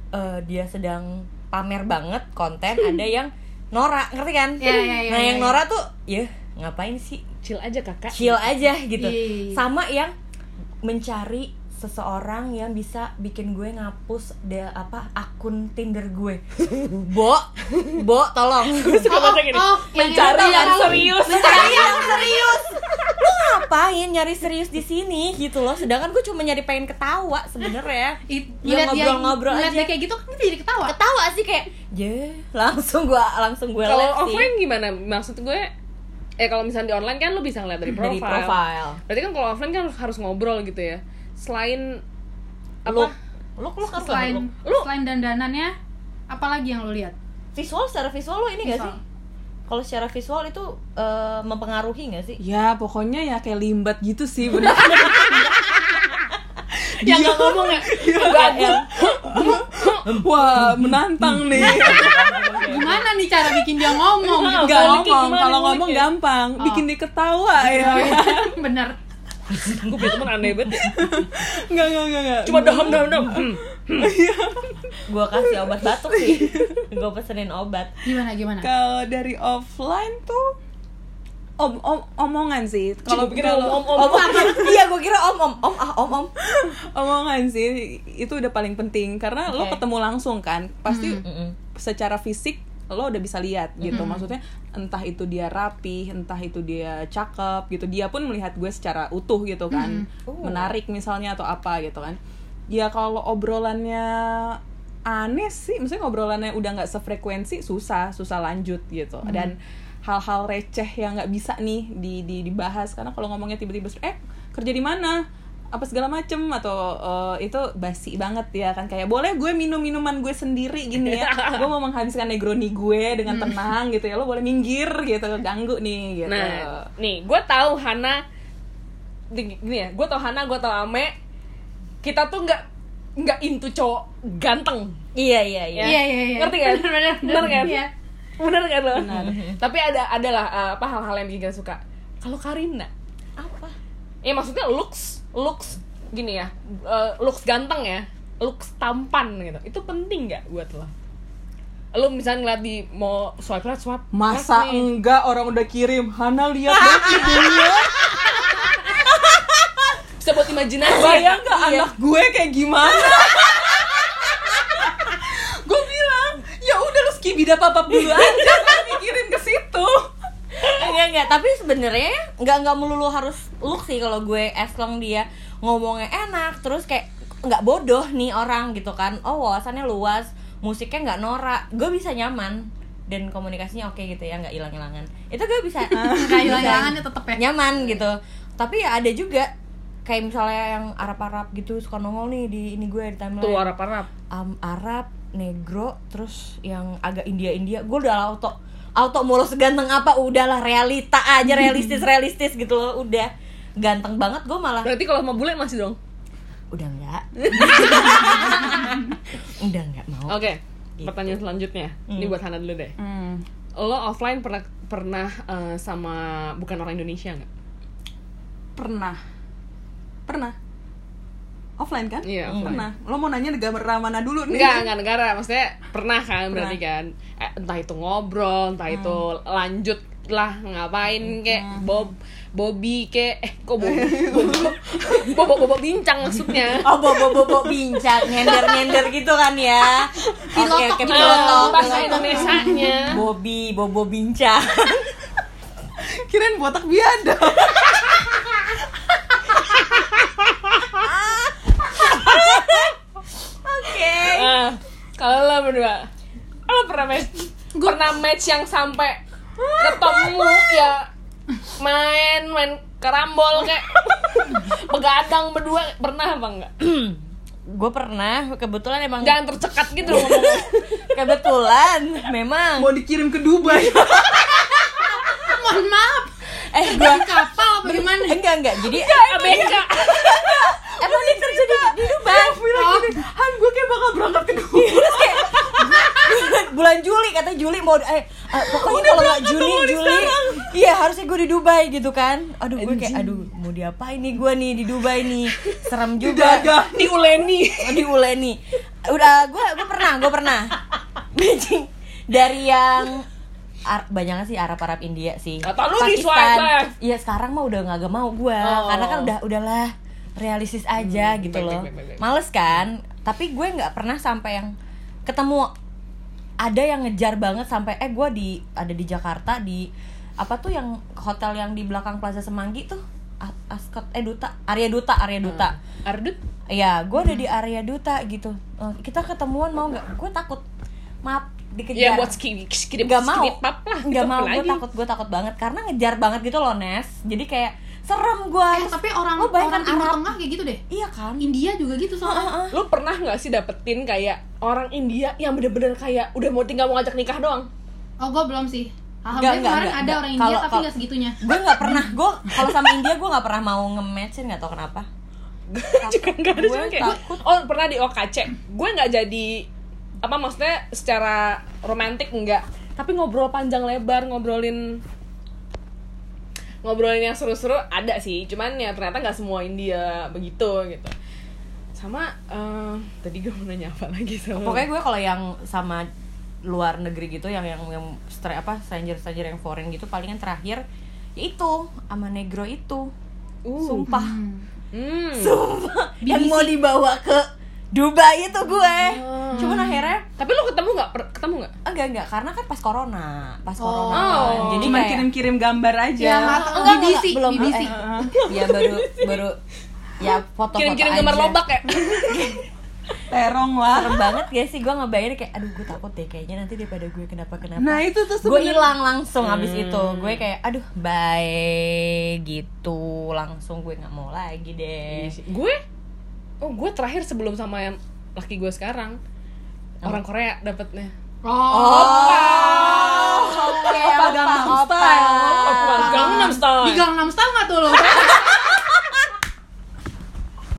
Speaker 2: eh, dia sedang pamer banget konten ada yang Nora ngerti kan?
Speaker 1: Ya, ya, ya,
Speaker 2: nah
Speaker 1: ya,
Speaker 2: yang
Speaker 1: ya.
Speaker 2: Nora tuh ya ngapain sih
Speaker 4: Chill aja kakak
Speaker 2: chill aja gitu
Speaker 1: Iya, iya, iya.
Speaker 2: sama yang mencari seseorang yang bisa bikin gue ngapus de apa akun Tinder gue. Bo, bo tolong. iya,
Speaker 4: Suka baca gini
Speaker 1: oh, yang
Speaker 4: Mencari
Speaker 1: itu
Speaker 4: yang
Speaker 1: tahu.
Speaker 4: serius
Speaker 2: Mencari yang serius. Lu ngapain nyari serius di sini gitu loh. Sedangkan gue cuma nyari pengen ketawa sebenarnya.
Speaker 1: It-
Speaker 2: Ya,
Speaker 1: ngeliat dia-
Speaker 2: ngobrol-ngobrol
Speaker 1: ngeliat
Speaker 2: aja.
Speaker 1: dia kayak gitu kan kita jadi ketawa
Speaker 2: Ketawa sih kayak, "Ye, langsung gue langsung gue
Speaker 4: kalau
Speaker 2: liat sih
Speaker 4: offline gimana maksud gue eh kalau misalnya di online kan lu bisa ngeliat dari
Speaker 2: dari
Speaker 4: profile,
Speaker 2: profile.
Speaker 4: berarti kan kalau offline kan harus, harus ngobrol gitu ya selain apa
Speaker 2: Look, look, look, harus
Speaker 1: selain
Speaker 2: look.
Speaker 1: selain dandanannya apalagi yang lo lihat
Speaker 2: visual secara visual lo ini nggak
Speaker 1: Visual.
Speaker 2: sih? Kalau secara visual itu eh, mempengaruhi nggak sih?
Speaker 3: ya pokoknya ya kayak limbat gitu sih bener
Speaker 4: yang nggak ngomong ya
Speaker 2: Yang-
Speaker 3: Iya, wah menantang nih
Speaker 2: Iya.
Speaker 1: gimana nih cara bikin dia ngomong gitu?
Speaker 3: nggak
Speaker 5: Nguliknya
Speaker 3: ngomong
Speaker 5: gimana,
Speaker 3: kalau ngomong
Speaker 4: ya?
Speaker 5: nguliknya?
Speaker 3: gampang
Speaker 4: Ah.
Speaker 3: bikin dia ketawa
Speaker 2: Iya,
Speaker 4: Iya,
Speaker 3: ya
Speaker 1: bener
Speaker 4: gue punya temen aneh banget ya.
Speaker 3: nggak nggak nggak Iya. nggak.
Speaker 4: cuma daham daham daham Hmm.
Speaker 2: gue kasih obat batuk sih gue pesenin obat
Speaker 1: gimana gimana
Speaker 3: kalau dari offline tuh om om omongan sih kalau
Speaker 4: Cing, bikin om- om- om.
Speaker 2: om iya gue kira om om om ah om om
Speaker 3: omongan sih itu udah paling penting karena lo
Speaker 2: Oke.
Speaker 3: ketemu langsung kan pasti
Speaker 4: Hmm.
Speaker 2: Mm-mm.
Speaker 3: secara fisik lo udah bisa lihat gitu maksudnya entah itu dia rapih entah itu dia cakep gitu dia pun melihat gue secara utuh gitu kan
Speaker 2: Oh.
Speaker 3: menarik misalnya atau apa gitu kan ya kalau obrolannya aneh sih maksudnya obrolannya udah nggak sefrekuensi susah susah lanjut gitu dan hal-hal receh yang nggak bisa nih di, di- dibahas karena kalau ngomongnya tiba-tiba eh kerja di mana apa segala macem atau eh, itu basi banget ya kan kayak boleh gue minum minuman gue sendiri gini ya gue mau menghabiskan negroni gue
Speaker 4: Hmm.
Speaker 3: dengan tenang gitu ya lo boleh minggir gitu ganggu
Speaker 1: Iya,
Speaker 3: nih gitu
Speaker 4: nah nih gue tahu Hana di- gini ya gue tahu Hana gue tahu Ame kita tuh nggak nggak into cowok ganteng
Speaker 2: iya iya iya
Speaker 4: ya.
Speaker 1: iya iya iya
Speaker 4: Ngerti nggak?
Speaker 1: bener bener
Speaker 4: Bener nggak?
Speaker 1: Iya.
Speaker 4: bener kan lo tapi ada adalah eh, apa hal-hal yang bikin kita suka kalau Karina
Speaker 2: apa
Speaker 4: Ya maksudnya looks, looks gini ya, eh, looks ganteng ya, looks tampan gitu. Itu penting nggak buat lo? lu misalnya ngeliat di mau swipe right swipe
Speaker 3: Masa
Speaker 4: left nih.
Speaker 3: enggak orang udah kirim Hana lihat deh videonya
Speaker 4: bisa buat imajinasi
Speaker 3: Bayang gak
Speaker 4: Iya.
Speaker 3: ya anak gue kayak gimana Gue bilang ya udah lu skibida papap dulu aja Gak mikirin ke situ
Speaker 2: enggak enggak Eh, tapi sebenarnya enggak enggak melulu harus look sih kalau gue as long dia ngomongnya enak terus kayak enggak bodoh nih orang gitu kan oh wawasannya luas musiknya enggak norak gue bisa nyaman dan komunikasinya oke gitu ya enggak hilang hilangan itu gue bisa
Speaker 1: Gak hilang-hilangannya tetep ya
Speaker 2: nyaman gitu tapi ya ada juga kayak misalnya yang Arab Arab gitu suka nongol nih di ini gue di timeline
Speaker 4: tuh arap arap
Speaker 2: Am- Arab negro terus yang agak India India gue udah auto auto mulus seganteng apa udahlah realita aja realistis realistis gitu loh udah ganteng banget gue malah
Speaker 4: berarti kalau sama bule masih dong
Speaker 2: udah enggak udah enggak mau
Speaker 4: oke pertanyaan selanjutnya ini buat Hana dulu deh
Speaker 3: Hmm.
Speaker 4: lo offline pernah pernah eh, sama bukan orang Indonesia nggak
Speaker 3: Pernah Pernah Offline kan?
Speaker 4: Iya, offline.
Speaker 3: Pernah Lo mau nanya negara mana dulu nih?
Speaker 4: Enggak, enggak negara. Maksudnya pernah kan berarti kan. Eh, entah itu ngobrol, entah itu lanjut lah ngapain kayak Bob Bobby kayak eh kok Bobby Bobo Bobo bincang maksudnya.
Speaker 2: oh bobo bobo bincang nyender nyender gitu kan ya oke oke
Speaker 4: Nah,
Speaker 2: pilotok
Speaker 4: bahasa Indonesia-nya.
Speaker 2: Bobi bobo bincang
Speaker 3: Kirain botak biadab
Speaker 2: oke
Speaker 4: Ah, kalau lo berdua, lo pernah match, pernah match yang sampai ketemu ya main main karambol kayak begadang berdua pernah apa enggak?
Speaker 2: gue pernah kebetulan emang
Speaker 4: Jangan tercekat gitu loh ngomong.
Speaker 2: kebetulan memang
Speaker 3: Mau dikirim ke Dubai
Speaker 4: Iya.
Speaker 1: Mohon maaf
Speaker 2: eh gue
Speaker 1: Kapal apa gimana?
Speaker 2: enggak enggak jadi
Speaker 4: ABK.
Speaker 2: emang
Speaker 4: Iya,
Speaker 2: ini kerja di, di Dubai Oh,
Speaker 3: bilang
Speaker 4: gitu.
Speaker 3: gini, Han gue kayak bakal berangkat ke Dubai
Speaker 2: terus kayak bulan Juli katanya Juli mau eh eh, pokoknya kalau nggak Juni Juli iya harusnya gue di Dubai gitu kan aduh gue kayak aduh mau diapain nih gue nih di Dubai nih serem
Speaker 4: Iya.
Speaker 2: juga
Speaker 3: Gagah
Speaker 4: diuleni
Speaker 2: di Uleni udah gue gue pernah gue pernah matching dari yang Ar- banyaknya sih Arab Arab India sih
Speaker 4: Kata lu di swipe-swipe.
Speaker 2: iya sekarang mah udah nggak mau gue
Speaker 4: Oh. Hmm,
Speaker 2: karena kan udah udahlah realistis aja gitu
Speaker 4: baik,
Speaker 2: loh
Speaker 4: baik, baik, baik.
Speaker 2: males kan tapi gue nggak pernah sampai yang ketemu ada yang ngejar banget sampai eh gue di ada di Jakarta di apa tuh yang hotel yang di belakang Plaza Semanggi tuh A- Ascot eh Duta Area Duta Area Duta
Speaker 4: Hmm. Ardut Hmm.
Speaker 2: ya gue ada di area duta gitu Eh, kita ketemuan mau nggak gue takut maaf dikejar
Speaker 4: ya buat skip skip
Speaker 2: nggak mau
Speaker 4: skip pap lah
Speaker 2: nggak
Speaker 4: gitu,
Speaker 2: mau
Speaker 4: apalagi.
Speaker 2: gue takut gue takut banget karena ngejar banget gitu loh Nes jadi kayak serem gue
Speaker 1: Eh tapi orang
Speaker 2: Lo bayangkan
Speaker 1: orang timur
Speaker 2: Oh, kan Arab.
Speaker 1: tengah kayak gitu deh
Speaker 2: iya kan
Speaker 1: India juga gitu soalnya
Speaker 4: lu pernah nggak sih dapetin kayak orang India yang bener-bener kayak udah mau tinggal mau ngajak nikah doang
Speaker 1: Oh gue belum sih Alhamdulillah
Speaker 2: enggak,
Speaker 1: kemarin
Speaker 2: enggak,
Speaker 1: ada
Speaker 2: enggak.
Speaker 1: orang India
Speaker 2: Kalau-
Speaker 1: tapi
Speaker 2: kalau-
Speaker 1: nggak segitunya
Speaker 2: gue nggak pernah gue kalau sama India gue nggak pernah mau nge-matchin nggak tau kenapa
Speaker 4: juga nggak ada
Speaker 2: Gue
Speaker 4: cuma kayak
Speaker 2: takut.
Speaker 4: oh pernah di OKC gue nggak jadi apa maksudnya secara romantik enggak tapi ngobrol panjang lebar ngobrolin ngobrolin yang seru-seru ada sih cuman ya ternyata nggak semua India begitu gitu sama eh, tadi gue mau nanya apa lagi sama lu?
Speaker 2: pokoknya gue kalau yang sama luar negeri gitu yang yang yang stra- apa stranger stranger yang foreign gitu palingan terakhir ya itu sama negro itu
Speaker 4: Uh.
Speaker 2: sumpah
Speaker 4: Hmm.
Speaker 2: Sumpah, yang mau dibawa ke Dubai itu gue.
Speaker 4: Hmm.
Speaker 2: Cuman akhirnya
Speaker 4: Tapi lu ketemu nggak? Per- Ketemu nggak?
Speaker 2: enggak enggak karena kan pas corona, pas corona. kan.
Speaker 4: Oh.
Speaker 2: Jadi
Speaker 3: Cuma
Speaker 2: kayak-
Speaker 3: kirim-kirim gambar aja
Speaker 4: Iya,
Speaker 1: Ya, mata-
Speaker 2: Iya. enggak, enggak,
Speaker 1: BBC,
Speaker 2: belum
Speaker 1: BBC.
Speaker 2: eh, ya baru baru ya foto-foto
Speaker 4: Kirim-kirim
Speaker 2: aja.
Speaker 4: gambar lobak ya?
Speaker 3: Terong lah
Speaker 2: Serem banget gak sih gue ngebayangin kayak aduh gue takut deh kayaknya nanti daripada gue kenapa kenapa.
Speaker 3: Nah itu tuh
Speaker 2: gue
Speaker 3: sebenarnya
Speaker 2: hilang langsung abis
Speaker 4: Hmm.
Speaker 2: itu gue kayak aduh bye gitu langsung gue nggak mau lagi deh
Speaker 4: gue? Oh, gue terakhir sebelum sama yang laki gue sekarang orang Korea dapetnya.
Speaker 2: oh oke
Speaker 3: Opa Gangnam Style.
Speaker 2: opa
Speaker 4: Gangnam
Speaker 1: Di
Speaker 4: Style.
Speaker 1: Gangnam Style nggak tuh lo?